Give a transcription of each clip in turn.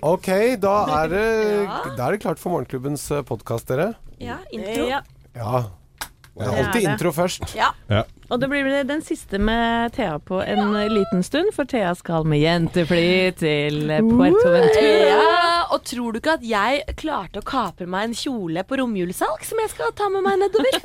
Ok, da er det, da er det klart for Morgenklubbens podkast, dere. Ja, intro. Ja. Ja. Det er Det er alltid det. intro først. Ja. Og det blir vel den siste med Thea på en liten stund, for Thea skal med jentefly til Puerto Ventura. Ja, og tror du ikke at jeg klarte å kapre meg en kjole på romjulssalg som jeg skal ta med meg nedover?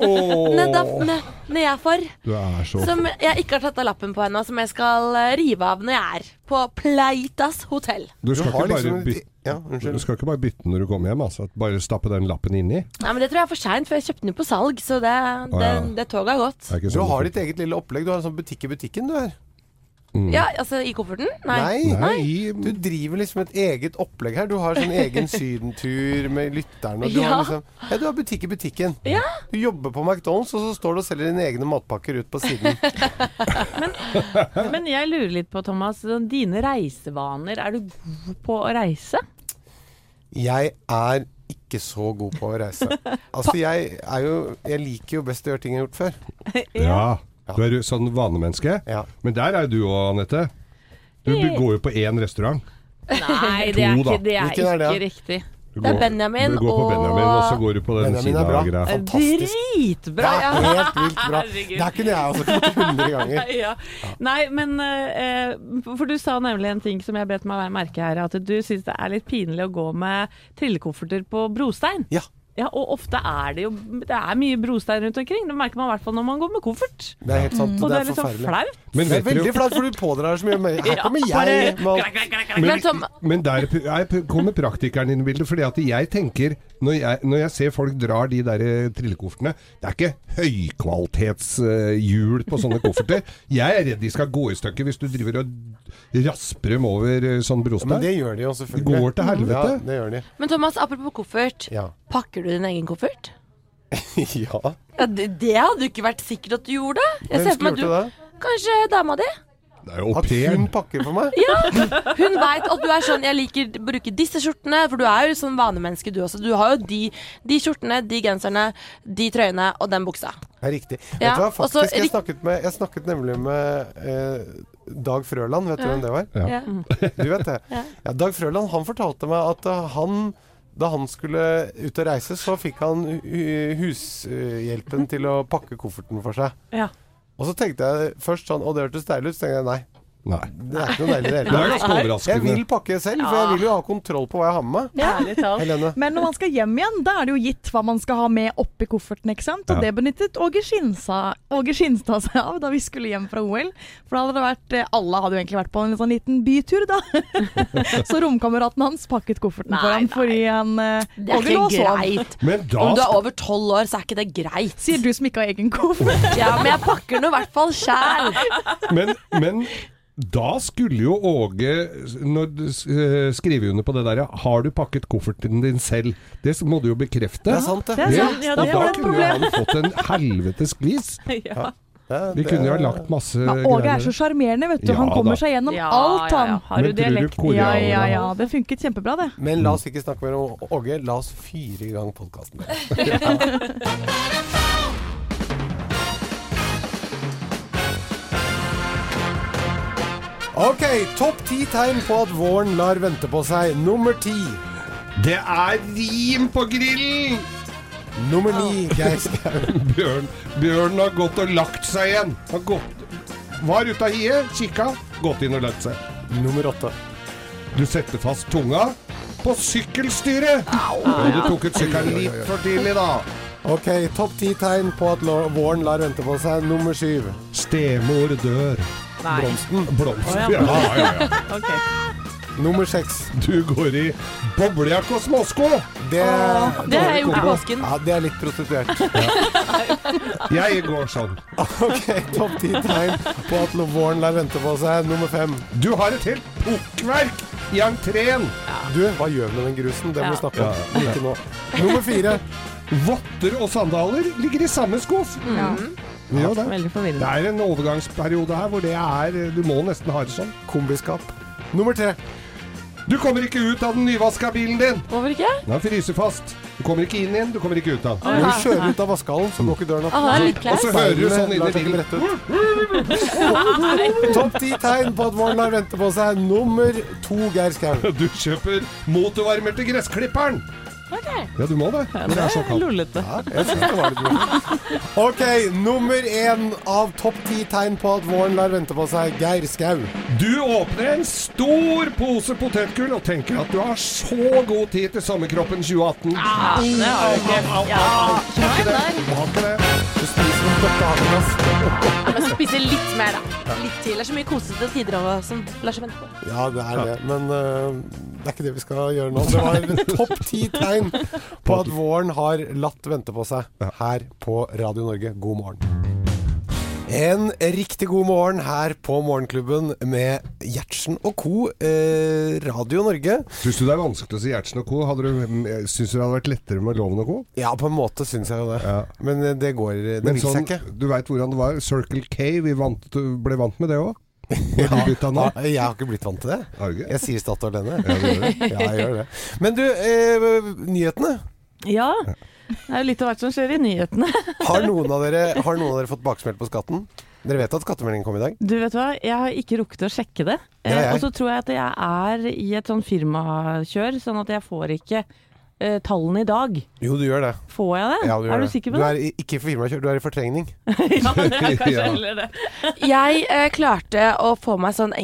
Nedaf- ne- Nedafor. Du er så Som jeg ikke har tatt av lappen på ennå, som jeg skal eh, rive av når jeg er på Pleitas hotell. Du skal, har ikke bare liksom- bytte, Ja, du unnskyld. skal ikke bare bytte når du kommer hjem, altså. Bare stappe den lappen inni. Nei, men Det tror jeg er for seint, for jeg kjøpte den jo på salg, så det, det, ja. det toget har gått. Det er ikke Du sånn har ditt eget lille opplegg. Du har en sånn butikk i butikken, du her. Ja, altså i kofferten? Nei. Nei. Nei, i, Du driver liksom et eget opplegg her. Du har sånn egen sydentur med lytterne. og Du, har Ja. liksom, ja, du har butikk i butikken. Ja. Du jobber på McDonald's, og så står du og selger dine egne matpakker ut på siden. Men jeg lurer litt på, Thomas, sånn, dine reisevaner. Er du god på å reise? Jeg er ikke så god på å reise. Altså, jeg er jo Jeg liker jo best å gjøre ting jeg har gjort før. ja. Du er jo sånn vanemenneske. Ja. Men der er jo du òg, Anette. Du b- går jo på én restaurant. Nei, det er To, da. ikke, det er Hvilken er det, ikke da? riktig. Du Det er går- Benjamin Du går på og- Benjamin, og så går du på den Benjamin er bra. Kina-greia. Fantastisk. Det Dritbra! er Ja. helt vilt bra. Herregud. Der kunne jeg altså også kommet 100 ganger. Ja. Nei, men eh, eh, For du sa nemlig en ting som jeg bet meg være merke her, at du syns det er litt pinlig å gå med trillekofferter på brostein. Ja. Ja, og ofte er det jo Det er mye brostein rundt omkring. Det merker man i hvert fall når man går med koffert. Det er helt sant. Og det Det er er litt sånn forferdelig. flaut. Men, Det er vet dere- veldig flaut, for du pådrar deg så mye mer. Her kommer jeg med alt. Men Tom, men der p- er p- kommer praktikeren inn i bildet. Fordi at jeg tenker, når jeg, når jeg ser folk drar de der eh, trillekoffertene Det er ikke høykvalitetshjul på sånne kofferter. Jeg er redd de skal gå i stykker hvis du driver og rasper dem over eh, sånn Men brospenn. det gjør de jo selvfølgelig. Mm. Det går til helvete. Ja, det gjør de. men Thomas, apropos koffert. Ja. Pakker du din egen koffert? ja. Ja, det, det hadde jo ikke vært sikkert at du gjorde. Jeg Hvem ser for skulle meg gjort det at du da? Kanskje dama di? Det er jo au At hun pairen. pakker for meg? Hun veit at du er sånn Jeg liker å bruke disse skjortene, for du er jo sånn vanemenneske du også. Du har jo de, de skjortene, de genserne, de trøyene og den buksa. Det er riktig. Ja, vet du hva, og så faktisk, jeg rik- snakket, med, jeg snakket nemlig med eh, Dag Frøland, vet du hvem det var? Ja. Ja. Du vet det? Ja. Dag Frøland han fortalte meg at eh, han da han skulle ut og reise, så fikk han hu- hushjelpen til å pakke kofferten for seg. Ja. Og så tenkte jeg først sånn Å, det hørtes deilig ut. Så tenkte jeg nei, Nei. det er ikke noe deilig i det Det hele tatt. er ganske Jeg vil overraskende. pakke selv, for jeg vil jo ha kontroll på hva jeg har med meg. Ærlig talt. Helene. Men når man skal hjem igjen, da er det jo gitt hva man skal ha med oppi kofferten. ikke sant? Og Ja. det benyttet Åge Skinstad, Åge Skinstad seg av da vi skulle hjem fra OL. For da hadde det vært, eh, alle hadde jo egentlig vært på en sånn liten bytur, da. Så romkameraten hans pakket kofferten for ham fordi han eh, Det er Åge lå og ikke sov. greit. Men da Om du er skal over tolv år, så er ikke det greit. Sier du som ikke har egen koffert. Ja, men jeg pakker nå i hvert fall sjæl. Men, men da skulle jo Åge når, du s- eh, skrive under på det der Har du pakket kofferten din selv? Det s- må du jo bekrefte. Det er sant, det. Det er Ja, sant, ja, og det da var et kunne jo han fått en helvetes glis. Ja. Ja, Vi det- kunne jo ha lagt masse Men Åge er så sjarmerende, vet du. Han Ja, kommer da. seg gjennom Ja, alt, ja, han. ja. Har du Men tror du dialekt? koreaner- Ja, ja, ja. Det funket kjempebra, det. Men la oss ikke snakke mer om Åge. La oss fyre i gang podkasten. Ok, topp ti tegn på at våren lar vente på seg. Nummer ti. Det er rim på grillen! Nummer ni, Geir Skau. Bjørn, Bjørn har gått og lagt seg igjen. Har gått, var ute av hiet, kikka, gått inn og lagt seg. Nummer åtte. Du setter fast tunga på sykkelstyret! Og du tok ut sykkelen litt for tidlig, da. Ok, topp ti tegn på at la- våren lar vente på seg. Nummer syv. Stemor dør. Nei. Blomsten. Blomsten, Å, ja. ja. ja, ja, ja. ok. Nummer seks. Du går i boblejakke og småsko. Det, Det har jeg gjort i påsken. ja, det er litt prostituert. Jeg går sånn. Ok, topp ti tegn på at våren lar vente på seg. Nummer fem. Du har et helt pukkverk i entreen. Du, hva gjør vi med den grusen? Det må vi Ja. snakke om. Ja, ja. Ikke nå. Nummer fire. Votter og sandaler ligger i samme skuff. Ja. Det er jo det. Veldig Det forvirrende. er en overgangsperiode her hvor det er Du må nesten ha det sånn. Kombiskap. Nummer tre. Du kommer ikke ut av den nyvaska bilen din. Hvorfor ikke? Den har fryser fast. Du kommer ikke inn igjen, du kommer ikke ut av den. Når du kjører ut av vaskehallen, så går ikke døren Ah, han er litt opp. klein. Og så hører du sånn inn i bilen. Topp ti tegn på at våren har ventet på seg. Nummer to, Geir Skau. Du kjøper motorvarmer til gressklipperen! Ja, du må det. Når det er så kaldt. Lollete. Ja, jeg synes det var litt bra. Ok, nummer én av topp ti tegn på at våren lar vente på seg. Geir Skau. Du åpner en stor pose potetgull og tenker at du har så god tid til sommerkroppen 2018. Ah, det har du ikke. Var ikke det? Var ikke det? Du spiser en bøtte Men spise litt mer, da. Litt til. Det er så mye kosete tider over som lar seg vente på. Ja, det er det. Men øh, det er ikke det vi skal gjøre nå. Det var topp ti tegn på at våren har latt vente på seg her på Radio Norge. God morgen. En riktig god morgen her på Morgenklubben med Gjertsen og co. Eh, Radio Norge. Syns du det er vanskelig å si Gjertsen og co.? Hadde du- mm, eh, Syns du det hadde vært lettere med Loven og co.? Ja, på en måte syns jeg jo det. Ja. Men eh, det går Det Men vil sånn, seg ikke. du veit hvordan det var. Circle K, vi vant, ble vant med det òg. Når de bytta Ja, navn. Ah, jeg har ikke blitt vant til det. Har du ikke? Jeg sier Statoil ene. Ja, det gjør det. Ja, jeg gjør det. Men du, eh, nyhetene. Ja. Det er jo litt av hvert som skjer i nyhetene. Har noen av dere, har noen av dere fått baksmell på skatten? Dere vet at skattemeldingen kom i dag? Du vet hva, jeg har ikke rukket å sjekke det. Ja, Eh, jeg. Og så tror jeg at jeg er i et sånn firmakjør, sånn at jeg får ikke eh, tallene i dag. Jo, du gjør det. Får jeg det? Ja, du gjør er du det. sikker Du på det? er i- ikke firmakjør, du er i fortrengning. ja, det er kanskje Ja. heller det. Jeg eh, klarte å få meg sånn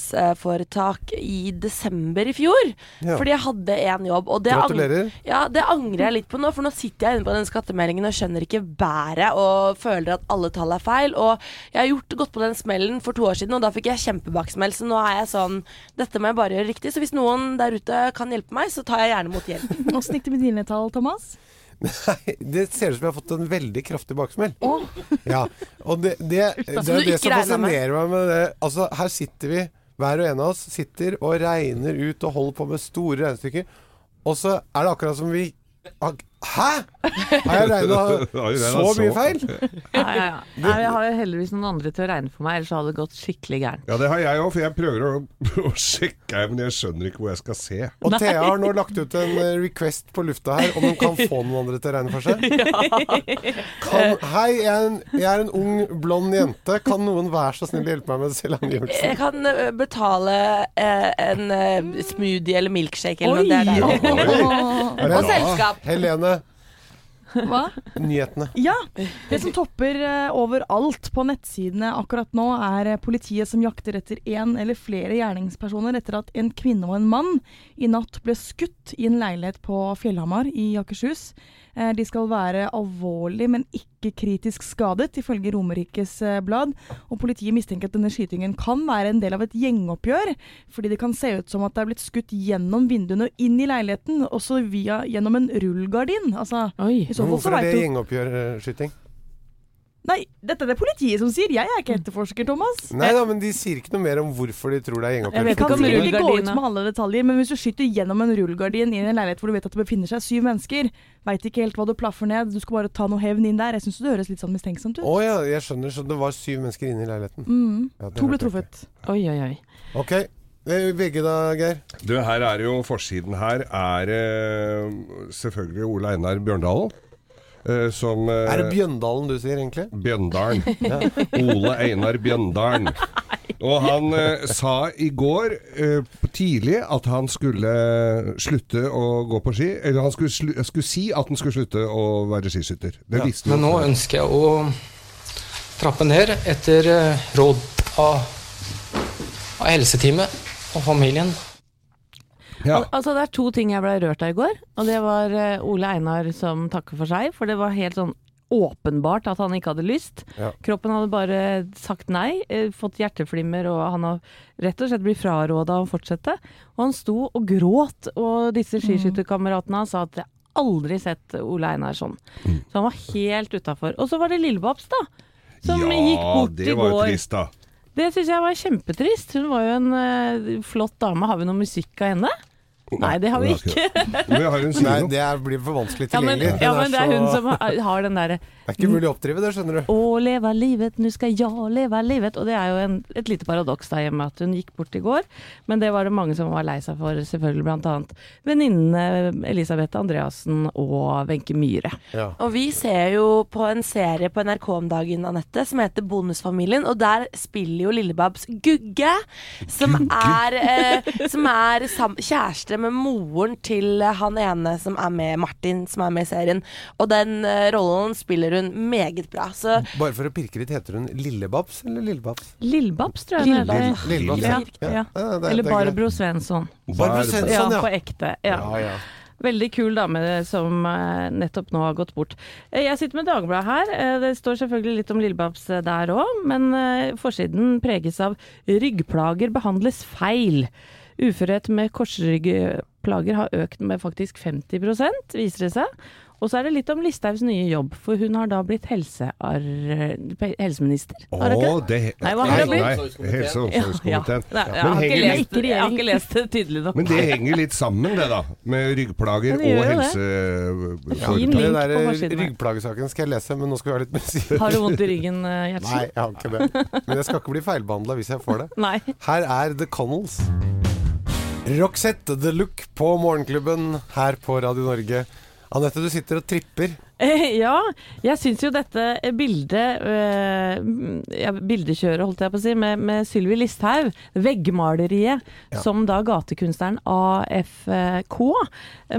enkeltmannsforetak i desember i fjor. Ja. Fordi jeg hadde én jobb. Og det ang- Gratulerer. Ja, det angrer jeg litt på nå, for nå sitter jeg inne på den skattemeldingen og skjønner ikke bæret og føler at alle tall er feil. Og jeg har gjort, gått på den smellen for to år siden, og da fikk jeg kjempebaksmell. Så nå er jeg sånn Dette må jeg bare gjøre riktig. Så hvis noen der ute kan hjelpe meg, så tar jeg gjerne mot hjelp. Åssen gikk det med dine tall, Thomas? Nei, det ser ut som jeg har fått en veldig kraftig baksmell. Ja, og det, det, det Som er du det ikke som regnet med. fascinerer meg med det. Altså, her sitter vi, hver og en av oss sitter og regner ut og holder på med store regnestykker, og så er det akkurat som vi har- Hæ?! Har jeg regna Har jeg regnet så mye så? feil? Ja, ja, ja. Nei, jeg har jo heldigvis noen andre til å regne for meg, ellers hadde det gått skikkelig gærent. Ja, det har jeg òg, for jeg prøver å, å sjekke, men jeg skjønner ikke hvor jeg skal se. Og Thea har nå lagt ut en eh, request på lufta her om hun kan få noen andre til å regne for seg. Kan, hei, jeg er, en, jeg er en ung, blond jente. Kan noen være så snill å hjelpe meg med selvangivelsen? Jeg kan eh, betale eh, en eh, smoothie eller milkshake eller Oi! noe. Det er deilig. Oi, er Åh, det Og bra? selskap. Helene, hva? nyhetene. Ja. Det som topper eh, overalt på nettsidene akkurat nå, er eh, politiet som jakter etter én eller flere gjerningspersoner etter at en kvinne og en mann i natt ble skutt i en leilighet på Fjellhamar i Akershus. Eh, De skal være alvorlig, men ikke kritisk skadet, ifølge Romerikes eh, Blad. Og politiet mistenker at denne skytingen kan være en del av et gjengoppgjør, fordi det kan se ut som at det er blitt skutt gjennom vinduene og inn i leiligheten, også via, gjennom en rullgardin. Altså, Oi. Men i så fall så hvorfor er vet det du gjengoppgjørskyting? Nei, dette er det politiet som sier. Jeg er ikke etterforsker, Thomas. Nei da, men de sier ikke noe mer om hvorfor de tror det er Jeg Vi vet kan ikke om gjengoppgjør. sikkert ikke gå ut rullgardina. med alle detaljer, men hvis du skyter gjennom en rullegardin i en leilighet hvor du vet at det befinner seg syv mennesker, veit ikke helt hva du plaffer ned, du skal bare ta noe hevn inn der. Jeg syns det høres litt sånn mistenksomt Å ut. ja, jeg skjønner. Så det var syv mennesker inne i leiligheten. Mm. Ja, det To ble hørte jeg truffet. Oi, oi, oi. ikke. Ok. Eh, Begge da, Geir? Du, her er jo forsiden her er eh, selvfølgelig Ole Einar Bjørndalen. eh, som eh, Er det Bjøndalen du sier, egentlig? Bjøndalen. Ole Einar Bjøndalen. Og han eh, sa i går eh, tidlig at han skulle eh, slutte å gå på ski. Eller han skulle, slu, skulle si at han skulle slutte å være skiskytter. Det Ja, visste Men nå han. ønsker jeg å trappe ned etter eh, råd av, av helseteamet og familien. Ja. Al altså, det er to ting jeg ble rørt av i går, og det var eh, Ole Einar som takker for seg, for det var helt sånn åpenbart at han ikke hadde lyst. Ja. Kroppen hadde bare sagt nei, eh, fått hjerteflimmer, og han har rett og slett blitt fraråda å fortsette. Og han sto og gråt, og disse skiskytterkameratene hans sa at jeg har aldri sett Ole Einar sånn. Mm. Så han var helt utafor. Og så var det Lillebabs, da. Som altså, gikk bort i det var jo går. trist, da. Det syns jeg var kjempetrist. Hun var jo en eh, flott dame. Har vi noe musikk av henne? Nei, det har vi ikke. Men jeg har en Nei, kino. det er, blir for vanskelig Ja men, tilgjengelig. ja, men det er hun så- som har har den derre det er ikke mulig å oppdrive det, skjønner du. Å, leve livet, nå skal jeg leve livet. Og det er jo en, et lite paradoks der hjemme at hun gikk bort i går. Men det var det mange som var lei seg for, selvfølgelig bl.a. venninnene Elisabeth Andreassen og Wenche Myhre. Ja. Og vi ser jo på en serie på NRK om dagen, Anette, som heter Bonusfamilien. Og der spiller jo Lillebabs Gugge, som er, eh, som er sam kjæreste med moren til eh, han ene som er med, Martin, som er med i serien. Og den eh, rollen spiller hun meget bra. Så Bare for å pirke litt, heter hun Lillebabs eller Lillebabs? Lillebabs, tror jeg hun heter. Lillebabs, Eh, Ja, ja. Ja, det er- det Eller er greit. Barbro Svensson. Barbro Bare- Svensson. Ja, Sånn, ja. på ekte. Ah, Ja, Ja. ja. Veldig kul dame som eh, nettopp nå har gått bort. Eh, Jeg sitter med Dagbladet her. Eh, Det står selvfølgelig litt om Lillebabs eh, der òg, men eh, forsiden preges av 'ryggplager behandles feil'. Uførhet med korsryggplager har økt med faktisk 50 viser det seg. Og så er det litt om Listhaugs nye jobb, for hun har da blitt helsear... helseminister. Å, Har hun ikke det? det Nei, hva har det nei, blitt? nei, Helse- og Ja, ja. omsorgskomiteen. Nei, jeg, Men har ikke henger litt- lest, jeg har ikke lest det tydelig nok. Men det henger litt sammen, det da. Med Ja, ryggplager og det gjør jo det. Fin helseforetak. link Den på der forsiden. her. ryggplagesaken skal jeg lese, men nå skal vi ha litt musikk. Har du vondt i ryggen, eh, Nei, Gjertsen? jeg har ikke det. Men jeg skal ikke bli feilbehandla hvis jeg får det. Nei. Her er The Connells. Roxette The Look på Morgenklubben her på Radio Norge. Anette, du sitter og tripper. Eh, Ja, jeg syns jo dette bildet eh, ja, Bildekjøret, holdt jeg på å si, med, med Sylvi Listhaug. Veggmaleriet som da gatekunstneren AFK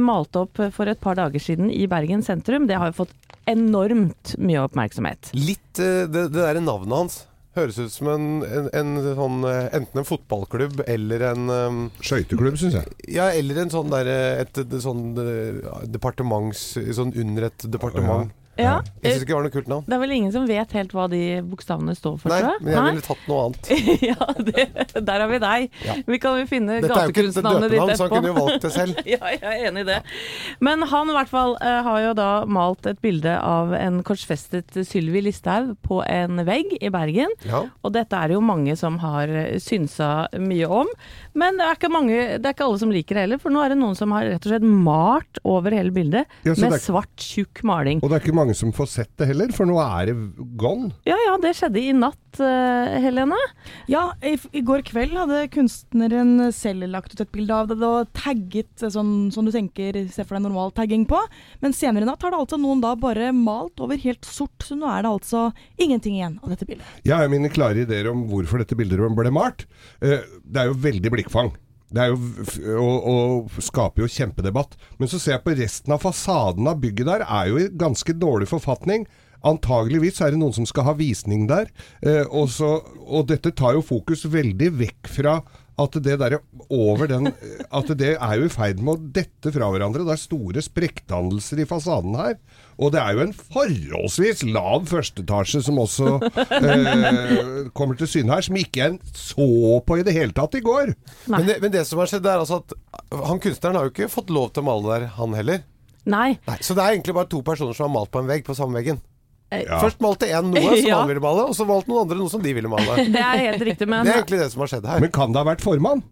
malte opp for et par dager siden i Bergen sentrum. Det har jo fått enormt mye oppmerksomhet. Litt eh, det, det der navnet hans høres ut som en, en, en sånn eh, Enten en fotballklubb eller en eh, Skøyteklubb, syns jeg. Ja, eller en sånn der eh, Et, et sånn eh, departements... Sånn under et departement. Ja, Jeg eh, syns ikke det var noe kult navn. det er vel ingen som vet helt hva de bokstavene står for, Nei, tror jeg? men jeg ville tatt noe annet. ja, det, der har vi deg. Vi kan jo finne Dette er jo ikke et gatekunstnavnet ditt døpenavn, så han kunne jo etterpå. valgt det selv. Ja, jeg er enig i det. Men han i hvert fall eh, har jo da malt et bilde av en korsfestet Sylvi Listhaug på en vegg i Bergen. Ja. Og dette er det jo mange som har eh, synsa mye om. Men det er, ikke mange, det er ikke alle som liker det heller, for nå er det noen som har rett og slett malt over hele bildet Ja, så med det er- svart, tjukk maling. Og det er ikke mange som får sett det heller, for nå er det gone. Ja ja, det skjedde i natt, eh, Helene. Ja, i, f- i går kveld hadde kunstneren selv lagt ut et bilde av det og tagget eh, sånn som du tenker, se for deg normal tagging på. Men senere i natt har det altså noen da bare malt over helt sort, så nå er det altså ingenting igjen av dette bildet. Jeg har mine klare ideer om hvorfor dette bildet ble malt. Eh, Det er jo veldig blikkfang. Det er jo, f- og, og skaper jo kjempedebatt. Men så ser jeg på resten av fasaden av bygget der, er jo i ganske dårlig forfatning. Antageligvis er det noen som skal ha visning der. Eh, Og, så, og dette tar jo fokus veldig vekk fra at det der over den eh, At det er jo i ferd med å dette fra hverandre. Det er store sprekkdannelser i fasaden her. Og det er jo en forholdsvis lav førsteetasje som også eh, kommer til syne her, som ikke en så på i det hele tatt i går. Men det, men det som har skjedd, det er altså at han kunstneren har jo ikke fått lov til å male der, han heller. Nei. Nei, så det er egentlig bare to personer som har malt på en vegg på samme veggen. Ja. Først malte én noe som Ja. han ville male, og så valgte noen andre noe som de ville male. Det er helt riktig, men Det er egentlig det som har skjedd her. Men kan det ha vært formann?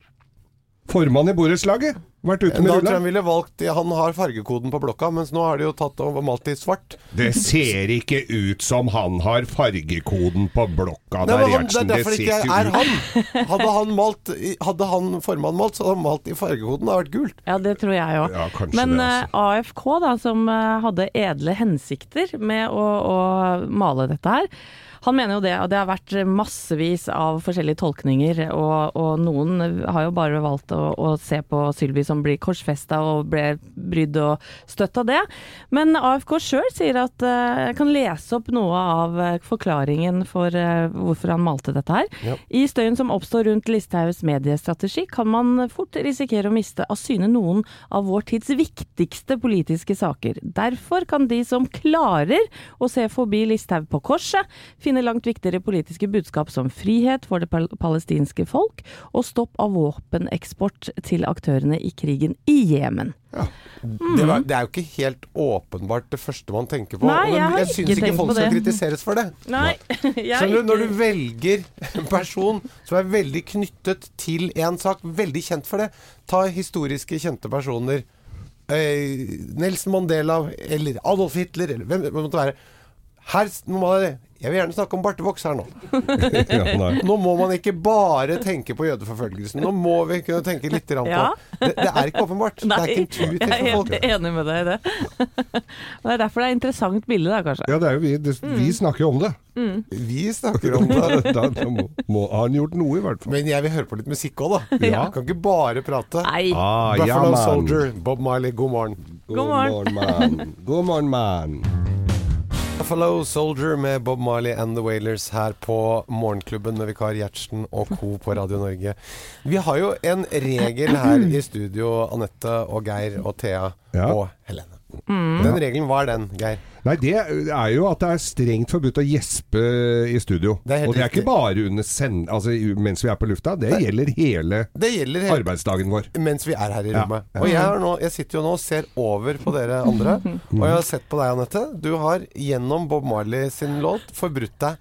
Formann i borettslaget? Vært ute Men med da tror jeg han rulleren? ville valgt ja, Han har fargekoden på blokka, mens nå har de jo tatt og malt i svart. Det ser ikke ut som han har fargekoden på blokka Nei, der, men han, det Gjertsen. er derfor det ikke ser er ut- han. Hadde han malt i- Hadde han formann malt, så hadde han malt i fargekoden. Det hadde vært gult. Ja, det tror jeg òg. Ja, kanskje Men det, altså. eh, AFK, da, som eh, hadde edle hensikter med å, å male dette her, han mener jo det. Og det har vært massevis av forskjellige tolkninger, og, og noen har jo bare valgt å, å se på Sylvi som blir korsfesta og ble brydd og støtt av det. Men AFK sjøl sier at eh, jeg kan lese opp noe av eh, forklaringen for eh, hvorfor han malte dette her. I støyen som oppstår rundt Listhaugs mediestrategi, kan man fort risikere å miste av syne noen av vår tids viktigste politiske saker. Derfor kan de som klarer å se forbi Listhaug på korset, finne langt viktigere politiske budskap som frihet for det pal palestinske folk og stopp av våpeneksport til aktørene i krigen i Jemen. Det, var, det er jo ikke helt åpenbart det første man tenker på. Mm. Nei, og det- jeg har jeg syns ikke ikke tenkt folk på skal det. kritiseres for det. Nei, jeg er Skjønner du, Når ikke- du velger en person som er veldig knyttet til en sak, veldig kjent for det Ta historiske, kjente personer. Eh, Nelson Mandela eller Adolf Hitler eller hvem det måtte være. Her s- må man, jeg vil gjerne snakke om Barte Vox her nå. ja, nei. Nå må man ikke bare tenke på jødeforfølgelsen. Nå må vi kunne tenke litt grann på Ja. det, det er ikke åpenbart. det Nei, er ikke en tur jeg til er for helt folk. enig med deg i det. Og Det er derfor det er et interessant bilde, da, kanskje. Ja, det er jo vi. Det, Mm. vi snakker jo om det. Vi snakker om det. Da, da må, må, har han gjort noe, i hvert fall. Men jeg vil høre på litt musikk òg, da. Ja. Kan ikke bare prate. Nei, Ah, ja, Buffalo man. Soldier, Bob Marley, god morgen. God morgen, mann. God morgen, mann. Buffalo Soldier med Bob Marley and The Wailers her på Morgenklubben med vikar Gjertsen og co. på Radio Norge. Vi har jo en regel her i studio, Anette og Geir og Thea Ja. og Helene. Den regelen, hva er den, Geir? Nei, det er jo at det er strengt forbudt å gjespe i studio. Det er helt og det er riktig. ikke bare under send, altså, i- mens vi er på lufta. Det gjelder hele Det gjelder helt arbeidsdagen vår. mens vi er her i Ja. rommet. Ja. Og jeg, har nå, jeg sitter jo nå og ser over på dere andre. Og jeg har sett på deg, Anette. Du har gjennom Bob Marley sin låt forbrutt deg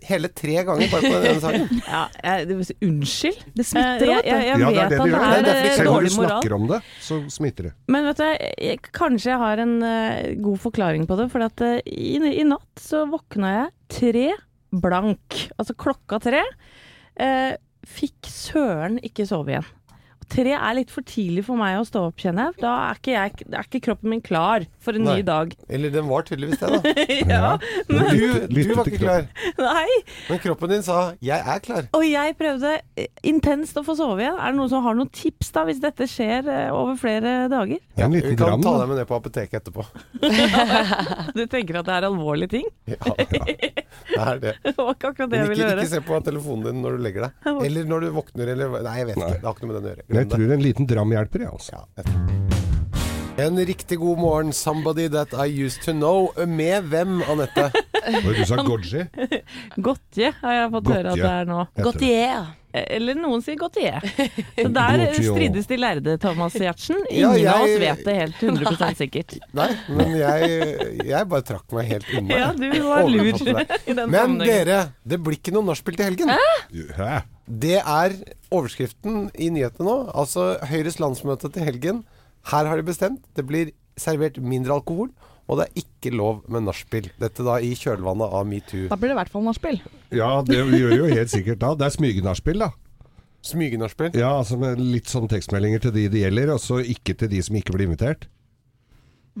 hele tre ganger bare på den ene sangen. ja, jeg, det- unnskyld. Det smitter, Eh, jeg, vet du. jeg, jeg vet at Det er det er, derfor ikke eh, jeg Selv om du dårlig snakker moral. om det, så smitter det. Men vet du, jeg, kanskje jeg har en eh, god forklaring på det. For at, eh, i, i natt så våkna jeg tre blank. Altså klokka tre. Eh, fikk søren ikke sove igjen. Og Tre er litt for tidlig for meg å stå opp, kjenner jeg. Da er ikke, jeg, er ikke kroppen min klar for en Nei. ny dag. Eller den var tydeligvis det, da. ja. Du, du lytte var til ikke klar. Nei, Men kroppen din sa 'jeg er klar'. Og jeg prøvde eh, intenst å få sove igjen. Er det noen som har noen tips da, hvis dette skjer eh, over flere dager? Det er en Vi liten kan dram. ta deg da. med ned på apoteket etterpå. Du tenker at det er alvorlige ting? Ja, ja. Det er det. Det var ikke akkurat det Men jeg ikke, ville ikke høre. se på telefonen din når du legger deg. Eller når du våkner, eller Nei, jeg vet ikke. Det har ikke noe med den å gjøre. Jeg Glem det. tror en liten dram hjelper, jeg, altså. Ja, jeg tror- en riktig god morgen, 'Somebody That I Used To Know'. Med hvem, Anette? Oi, Du sa Godji. Jeg Godtje har jeg fått høre at Godtje. det er nå. tror det. Gautier. Eh, Eller noen sier godtje. Så der eh, Godtje. strides de lærde, Thomas Giertsen. Ja, Ingen av oss jeg- vet det helt 100 sikkert. Nei, men jeg, jeg bare trakk meg helt unna. Ja, du var lur i Overlatt til deg. den Men sammenhengen. dere, det blir ikke noe nachspiel til helgen. Hæ? Det er overskriften i nyhetene nå. Altså Høyres landsmøte til helgen. Her har de bestemt. Det blir servert mindre alkohol, og det er ikke lov med nachspiel. Dette da i kjølvannet av metoo. Da blir det i hvert fall nachspiel. Ja, det gjør jo helt sikkert da. Det er smygenachspiel, da. Smygenachspiel. Ja, altså med litt sånn tekstmeldinger til de det gjelder, og så ikke til de som ikke blir invitert.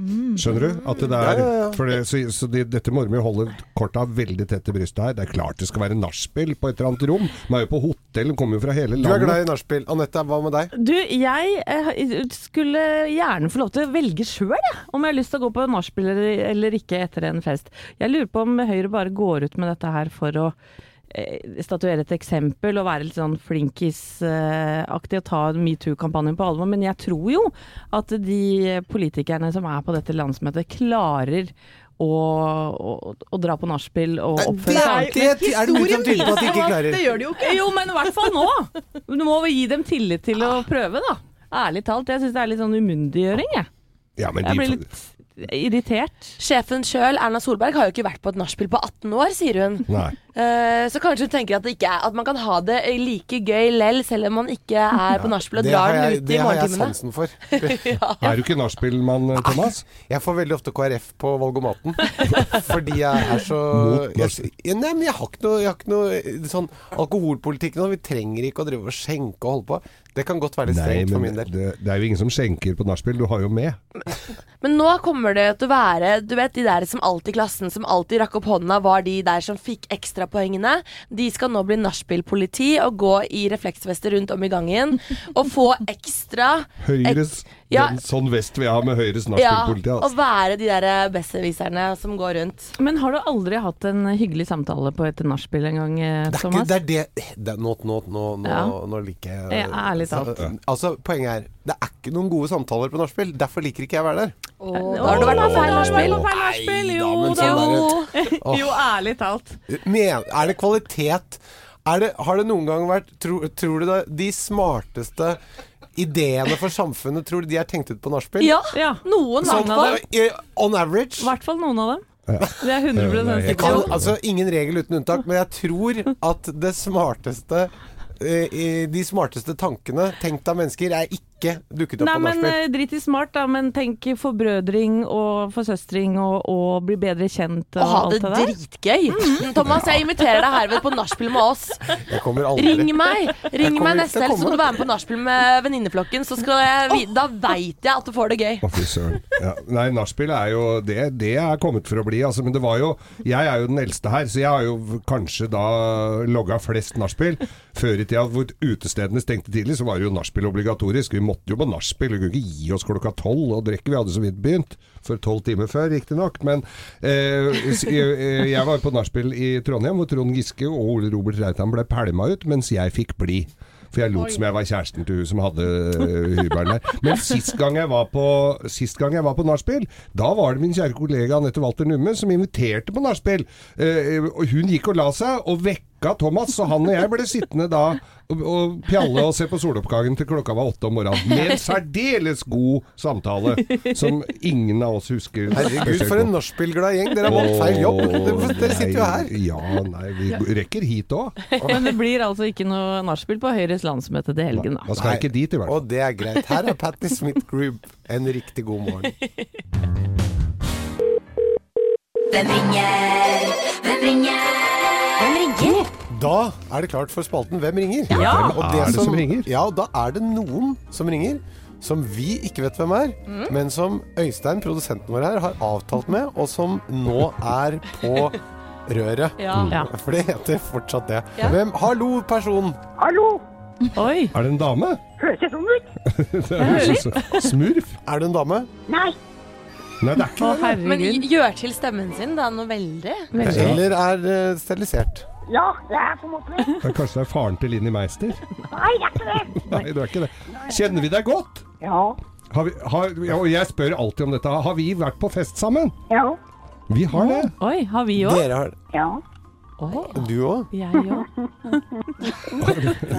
Skjønner du? At det Ja, der, ja, ja. For det, så, så det, dette må de jo holde korta veldig tett til brystet her. Det er klart det skal være nachspiel på et eller annet rom. De er jo på hotell, de kommer jo fra hele Du er glad landet. i nachspiel. Anette, hva med deg? Du, jeg eh, skulle gjerne få lov til å velge sjøl, jeg. Om jeg har lyst til å gå på nachspiel eller- eller ikke etter en fest. Jeg lurer på om Høyre bare går ut med dette her for å eh, statuere et eksempel og være litt sånn flinkis-aktig og ta metoo-kampanjen på alvor. Men jeg tror jo at de politikerne som er på dette landsmøtet, klarer å, å, å dra på nachspiel og oppføre seg det, det er det mye som tyder på at de ikke klarer. Det gjør de jo ikke. jo, men i hvert fall nå. Nå må vi gi dem tillit til Ah. å prøve, da. Ærlig talt. Jeg syns det er litt sånn umyndiggjøring, jeg. Ja, men Jeg blir de, litt irritert. Sjefen sjøl, Erna Solberg, har jo ikke vært på et nachspiel på 18 år, sier hun. Nei. Eh, Så kanskje hun tenker at, det ikke er, at man kan ha det like gøy lell, selv om man ikke er på nachspiel og Det har drar den jeg, ut det i har jeg morgentimene. sansen for. Er du ikke nachspielmann, Ah, Thomas? Jeg får veldig ofte KrF på valgomaten. Fordi jeg er så Mot jeg, Nei, men jeg har ikke noe, jeg har ikke noe sånn alkoholpolitikk nå. Vi trenger ikke å drive og skjenke og holde på. Det kan godt være litt Nei, strengt for men min det, del. det er jo ingen som skjenker på nachspiel. Du har jo med. Men nå kommer det til å være Du vet de der som alltid i klassen som alltid rakk opp hånda, var de der som fikk ekstrapoengene. De skal nå bli nachspielpoliti og gå i refleksvester rundt om i gangen og få ekstra Høyres Ja. den, Sånn vest vil jeg ha med Høyres Ja, nachspielpoliti. og Altså. være de der besserwisserne som går rundt. Men har du aldri hatt en hyggelig samtale på et nachspiel en gang, eh, Det er, ikke, Thomas? det er det, det er- Nå, nå, nå, nå, Ja. nå liker jeg Ja, ærlig talt. Så- Altså, Poenget er det er ikke noen gode samtaler på nachspiel. Derfor liker ikke jeg å være der. Da har du vært på feil nachspiel. På feil nachspiel, jo men da. sånn Jo, ærlig talt. Men, er det kvalitet? Er det, har det noen gang vært tro, Tror du det de smarteste ideene for samfunnet, tror du de er tenkt ut på nachspiel? Ja, Ja. noen i Sånn, hvert fall. eh, on average. I hvert fall noen av dem. Det er Ja, 100 det er Kan, sikkert. helt- altså, ingen regel uten unntak, men jeg tror at det smarteste eh, i- de smarteste tankene tenkt av mennesker er ikke dukket opp Nei, på men nachspiel. eh, Drit i smart, da, men tenk forbrødring og forsøstring og, og bli bedre kjent Å og ha alt det det der. Mhm. dritgøy. Thomas, jeg inviterer deg herved på nachspiel med oss. eh, Jeg kommer aldri Ring meg Ring kommer meg ikke neste til å helg, så komme. må du være med på nachspiel med venninneflokken. så skal jeg vi- Da veit jeg at du får det gøy. Å, fy søren. Ja. Nei, nachspiel er jo det, det er kommet for å bli. Altså, men det var jo Jeg er jo den eldste her, så jeg har jo kanskje da logga flest nachspiel. Før i tida hvor utestedene stengte tidlig, så var det jo nachspiel obligatorisk. Vi måtte jo på nachspiel. Vi kunne ikke gi oss klokka tolv og drikke. Vi hadde så vidt begynt. For tolv timer før, riktignok. Men eh, s- jeg, eh, jeg var på nachspiel i Trondheim, hvor Trond Giske og Ole Robert Reitan ble pælma ut, mens jeg fikk bli. For jeg lot som jeg var kjæresten til hun som hadde øh, hybelen der. Men sist gang jeg var på Sist gang jeg var på nachspiel, da var det min kjære kollega Anette Walter Numme som inviterte på nachspiel. Eh, og hun gikk og la seg, og vekka Thomas, så han og jeg ble sittende da og, og pjalle og se på soloppgangen til klokka var åtte om morgenen. Med en særdeles god samtale, som ingen av oss husker. Herregud, for en nachspiel-glad gjeng. Dere har valgt feil jobb. Dere dere sitter jo her. Ja, nei, vi rekker hit òg. Men det blir altså ikke noe nachspiel på Høyres landsmøte til helgen, da. Da skal jeg ikke dit, i hvert fall. Og det er greit. Her er Patti Smith Group. En riktig god morgen. Hvem ringer? Hvem ringer? Hvem ringer? Da er det klart for spalten Hvem ringer? Ja. Og Er det som ringer? Ja, da er det noen som ringer. Som vi ikke vet hvem er, Mm. men som Øystein, produsenten vår her, har avtalt med, og som nå er på røret. Mm. Ja. For det heter fortsatt det. Hvem Hallo, person! Oi! Er det en dame? Høres det sånn ut? Smurf? Er du en dame? Nei, det er ikke Å, Men herregud. gjør til stemmen sin da noe veldig. Ja. Eller er eh, sterilisert? det. er Kanskje det er faren til Linni Meister? Nei, det er ikke det. Kjenner vi deg godt? Har vi, har, ja, og jeg spør alltid om dette. Har vi vært på fest sammen? Vi har det. Oi, har vi òg? Dere har Du òg? Jeg òg.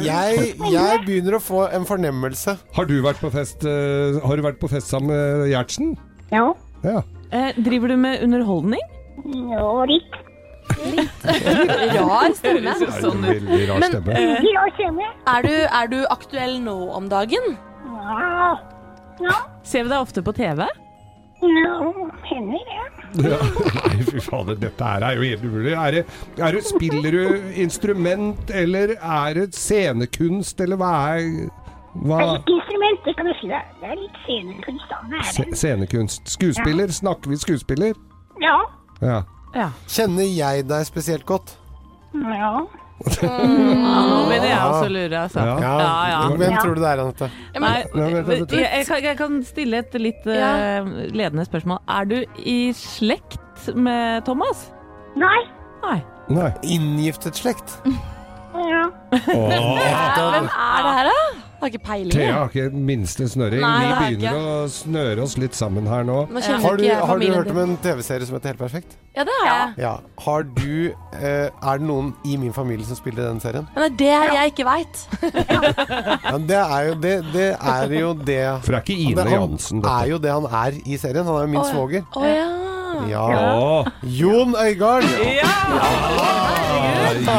Jeg, jeg begynner å få en fornemmelse. Har du vært på fest, eh, har du vært på fest sammen med Gjertsen? Ja. Eh, driver du med underholdning? Rar stemme. Det er en veldig rar Men, stemme. Er du, er du aktuell nå om dagen? Ser vi deg ofte på TV? Ja. Nei, fy fader, dette her er jo helt umulig. Er det, er det, spiller du instrument, eller er det scenekunst, eller hva er hva? Instrument, det kan du si deg. Det er litt scenekunstene. Se, scenekunst. Skuespiller? Snakker vi skuespiller? Ja. Ja. Ja. Kjenner jeg deg spesielt godt? Ja. Nå begynner jeg også å lure, altså. Ja. Ja, ja. Hvem tror du det er, Anette? Nei, Nei, vent, vent, vent. jeg, jeg, kan, jeg kan stille et litt eh, ledende spørsmål. Er du i slekt med Thomas? Nei. Nei. Nei. Inngiftet slekt? Ja. Hvem er det her, da? Har ikke peiling. Thea jeg. har ikke minste snøring. Nei, det vi har jeg begynner å snøre oss litt sammen her nå. Nå kjenner Har du, ikke jeg har du familien hørt om din. en TV-serie som heter Helt perfekt? Ja, det har jeg. Ja. Har du eh, Er det noen i min familie som spiller den serien? Men det er det jeg ikke veit. Ja, det er jo det, det er jo det For det er ikke Det- Ine Han Jansen, er dette. jo det han er i serien. Han er jo min svoger. Å ja. Ja. Å, Jon Øygard! Det er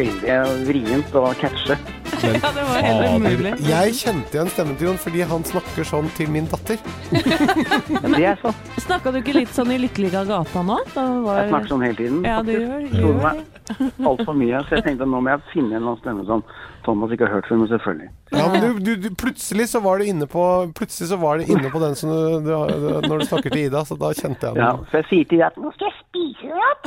jo veldig vrient å catche. Ja, det var helt umulig. Jeg kjente igjen stemmen til Jon fordi han snakker sånn til min datter. Det er sånn. Snakka du ikke litt sånn i Lykkelig av gata nå? Da Jeg var... snakker sånn hele tiden. Ja, du gjør du Tror gjør det. meg altfor mye, så jeg tenkte nå må jeg finne en eller annen stemme som Thomas ikke har hørt før, men selvfølgelig. Ja, men du, du, du, plutselig så var du inne på Plutselig så var du inne på den som du, du, du Når du snakker til Ida, så da kjente jeg Ja, den. så jeg sier til Gjertsen Nå skal jeg spise deg opp.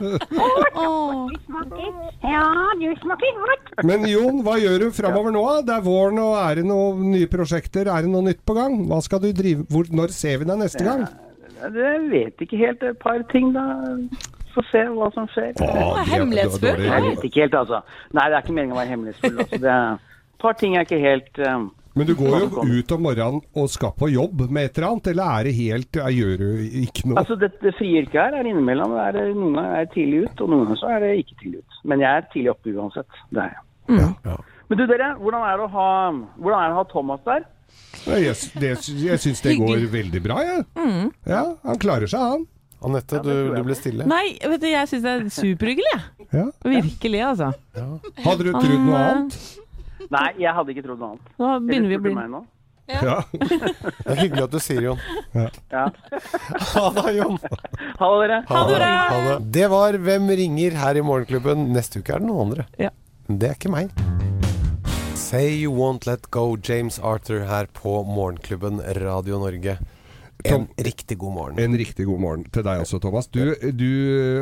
Du smaker. Ja, du smaker godt. Men Jon, hva gjør du framover nå? da? Det er våren, og er det noen nye prosjekter? Er det noe nytt på gang? Hva skal du drive Hvor, Når ser vi deg neste gang? Jeg vet ikke helt et par ting, da. Få se hva som skjer. Å, det- det var dårlig. Jeg vet ikke helt, altså. Nei, det er ikke meningen å være hemmelighetsfull. Altså. Det er et par ting jeg ikke helt um, Men du går jo ut om morgenen og skal på jobb med et eller annet, eller er det helt jeg Gjør du ikke noe? Altså, det, det frie yrket her er innimellom. Er det, noen Mm. ganger er jeg tidlig ut, og noen ganger så er det ikke tidlig ut. Men jeg er tidlig oppe uansett. Det er jeg. Men du dere, hvordan er det å ha, hvordan er det å ha Thomas der? Nei, Jeg, s- det, s- jeg syns det går veldig bra, jeg. Ja, han klarer seg, han. Anette, du, du ble stille. Nei, vet du, jeg syns det er superhyggelig, jeg. Ja. Virkelig, altså. Hadde du trodd noe annet? Nei, jeg hadde ikke trodd noe annet. Nå Dere begynner vi å spurte bli meg nå. Ja. Det er hyggelig at du sier, Jon. Ja. Ha det, Jon. Ha det, dere. Ha det. Ha det. Det var Hvem ringer her i Morgenklubben. Neste uke er det noen andre. Ja. Men det er ikke meg. Say You Won't Let Go, James Arthur her på Morgenklubben Radio Norge. En Tom- riktig god morgen. En riktig god morgen til deg også, Thomas. Du, du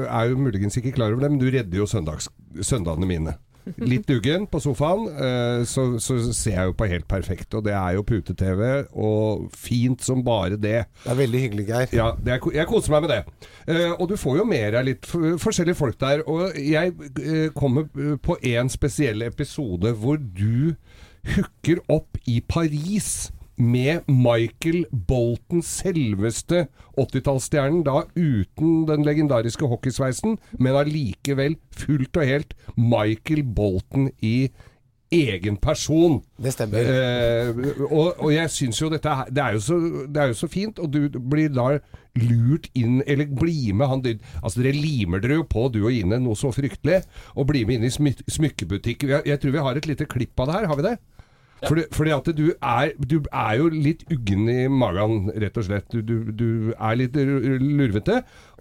er jo muligens ikke klar over det, men du redder jo søndags, søndagene mine. Litt duggen på sofaen, eh, så, så ser jeg jo på helt perfekt. Og det er jo pute-TV, og fint som bare det. Det er veldig hyggelig, Geir. Ja, det er, ko- jeg koser meg med det. Eh, og du får jo med deg litt f- forskjellige folk der. Og jeg eh, kommer eh, på en spesiell episode hvor du hooker opp i Paris med Michael Bolton, selveste 80-tallsstjernen. Da uten den legendariske hockeysveisen, men allikevel fullt og helt Michael Bolton i egen person. Det stemmer. Eh, og, og jeg syns jo dette her- det er jo, så, det er jo så fint, og du blir da lurt inn Eller blir med han du- Altså Dere limer dere jo på, du og Ine, noe så fryktelig, og blir med inn i smyk smykkebutikken. Jeg, jeg tror vi har et lite klipp av det her, har vi det? Fordi, fordi at du er, du er jo litt uggen i magen, rett og slett. Du, du, du er litt r- lurvete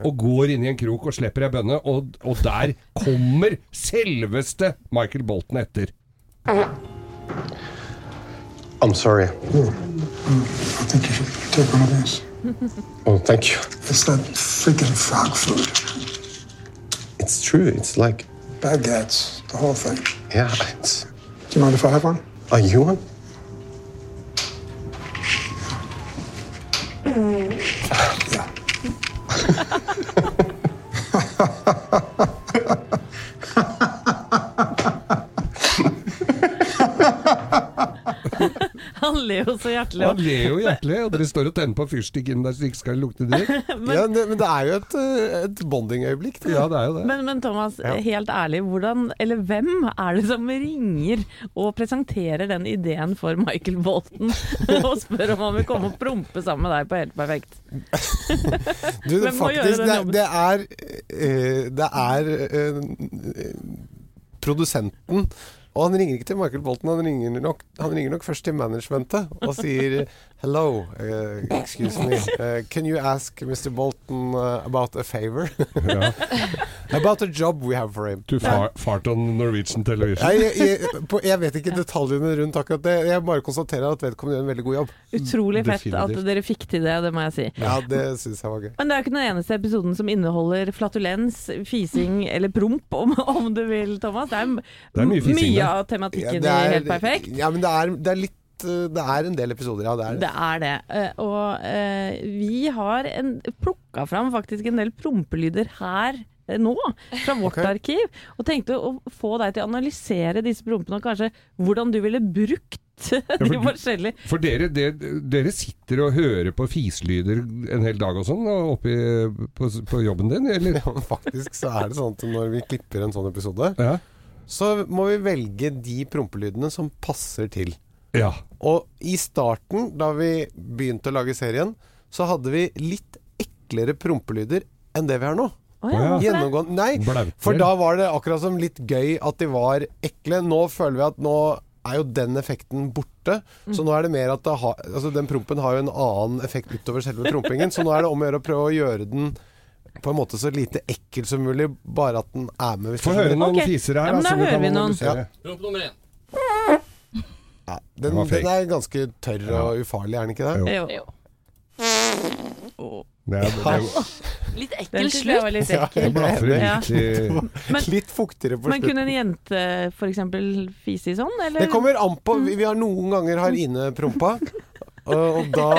og går inn i en krok og slipper ei bønne, og, og der kommer selveste Michael Bolton etter. I'm sorry. I think you should take one of these. Oh, thank you. It's that freaking frog food. It's true. It's like, Baguettes, the whole thing. yeah, it's. Do you mind if I have one? Are you on? Yeah. Han ler jo så hjertelig. Han ler jo hjertelig, og dere står og tenner på fyrstikken der så det ikke skal lukte dritt. ja, det, men det er jo et, eh, et bondingøyeblikk. det. Ja, det er jo det. Men, men Thomas, helt ærlig, hvordan, eller hvem er det som ringer og presenterer den ideen for Michael Bolton og spør om han vil komme og prompe sammen med deg på Helt perfekt? Du, Hvem må faktisk, gjøre den det, det er eh, Det er eh, produsenten. Og han ringer ikke til Michael Bolton, han ringer nok, han ringer nok først til managementet og sier Hello, eh, excuse me, eh, can you ask Mr. Bolton eh, about a favor? Ja. about a job we have for him. Du far, fart on Norwegian Television. Nei, jeg, jeg, på, jeg vet ikke detaljene rundt akkurat det. Jeg bare konstaterer at vedkommende gjør en veldig god jobb. Utrolig fett at Definitivt. dere fikk til det, det må jeg si. Ja, Det syns jeg var gøy. Men det er jo ikke den eneste episoden som inneholder flatulens, fising eller promp, om, om du vil, Thomas. Det er, m- Det er mye fising, mye da. av tematikken det i er- Helt perfekt. Ja, men det er, det er litt eh, Det er en del episoder, ja. Det er det. Det er det. Eh, Og eh, vi har en- plukka fram faktisk en del prompelyder her eh, nå, fra vårt arkiv, og tenkte å få deg til å analysere disse prompene, og kanskje hvordan du ville brukt for de du- forskjellige For dere, de- dere sitter og hører på fislyder en hel dag og sånn og oppe i- på, på jobben din, eller? Ja, men faktisk så er det sånn at når vi klipper en sånn episode, Ja. så må vi velge de prompelydene som passer til. ja. Og i starten, da vi begynte å lage serien, så hadde vi litt eklere prompelyder enn det vi har nå. Å Å ja, hvorfor det? Gjennomgående Nei, Blauter. for da var det akkurat som litt gøy at de var ekle. Nå føler vi at nå er jo den effekten borte. Så nå er det mer at det har- altså den prompen har jo en annen effekt utover selve prompingen. Så nå er det om å gjøre å prøve å gjøre den på en måte så lite ekkel som mulig, bare at den er med. hvis Få du skjønner. høre noen Ok. fiser her. Ja, men da, da så vi hører kan vi noen. analysere. Promp nummer én. Ja, Den var den, fake. den er ganske tørr og ufarlig, er den ikke det? Jo. Jo. Det er, det er, Litt ekkel Den synes jeg slutt. var litt ekkel. jeg blafrer Ja. litt i Men- Litt fuktigere på Men slutten. kunne en jente f.eks. fise i sånn, eller? Det kommer an på. Mm. Vi, vi har noen ganger har Ine prompa. Og, og da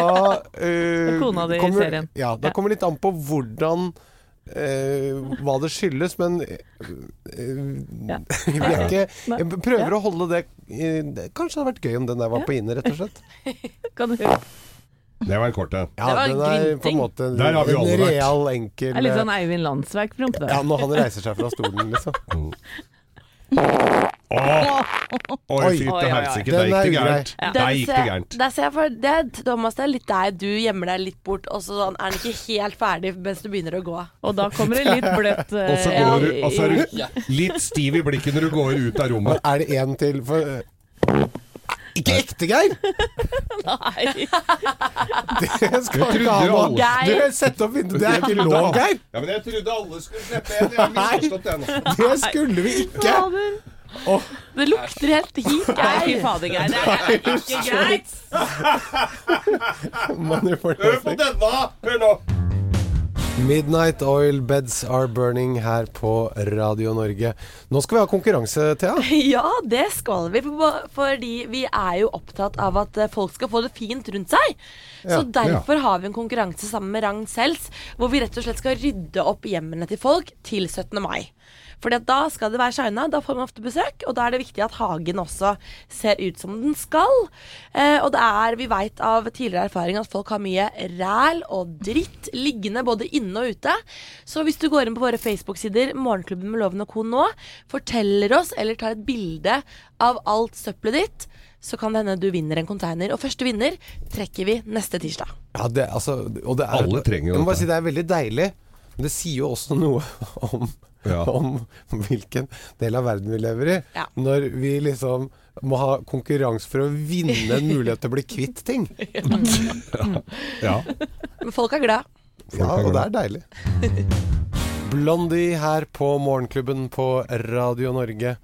eh, Kona di i kommer, serien. Ja, da Ja. kommer litt an på hvordan eh, hva det skyldes, men eh, Ja. vi er ikke, Nei. Jeg prøver å holde det eh, det- Kanskje det hadde vært gøy om den der var på Ine, rett og slett. Kan du høre? Det var en kort en. Ja, Det var den er på en grynting. måte en, Der har vi en alle vært. real, Det enkel er litt eh, sånn Eivind Landsverk-promp, Ja, da. når han reiser seg fra stolen, liksom. Oi, fy til helsike, det er gikk det gærent. Der Den gikk det ser- gærent. Der ser jeg for det, Thomas, det er litt deg. Du gjemmer deg litt bort, og så sånn, er den ikke helt ferdig mens du begynner å gå. Og da kommer det litt bløtt. eh, Og så ja, går du, og så er du Ja. litt stiv i blikket når du går ut av rommet. Er det en til for eh, Ikke ekte, Geir! Nei. Det skal Jeg du ikke ha trodde nå. alle- Du, sett opp vinduet. Det er Jeg ikke trodde lov, alle- Geir. Ja, men jeg trodde alle skulle slippe en. Jeg har misforstått det nå. Det skulle vi ikke. Åh. Det lukter helt hit, Nei, fy Geir. fader, Geir. Det er ikke greit. Hør på denne! Hør nå! Midnight Oil Beds Are Burning her på Radio Norge. Nå skal vi ha konkurranse, Thea. Ja, det skal vi, for- fordi vi er jo opptatt av at eh, folk skal få det fint rundt seg. Ja, Så derfor har vi en konkurranse sammen med Ragn Sells, hvor vi rett og slett skal rydde opp hjemmene til folk til 17. mai. Fordi at da skal det være shina, da får man ofte besøk, og da er det viktig at hagen også ser ut som den skal. Eh, og det er, vi veit av tidligere erfaring at folk har mye ræl og dritt liggende både inne og ute. Så hvis du går inn på våre Facebook-sider, Morgenklubben med Loven og Co. nå, forteller oss eller tar et bilde av alt søppelet ditt, så kan det hende du vinner en container. Og første vinner trekker vi neste tirsdag. Ja, det, altså, og det er, Alle trenger jo jeg må bare dette. si det er veldig deilig. Men det sier jo også noe om, om hvilken del av verden vi lever i. Ja. Når vi liksom må ha konkurranse for å vinne en mulighet til å bli kvitt ting. Ja. Men folk er glad. Ja, og det er deilig. Blondie her på Morgenklubben på Radio Norge.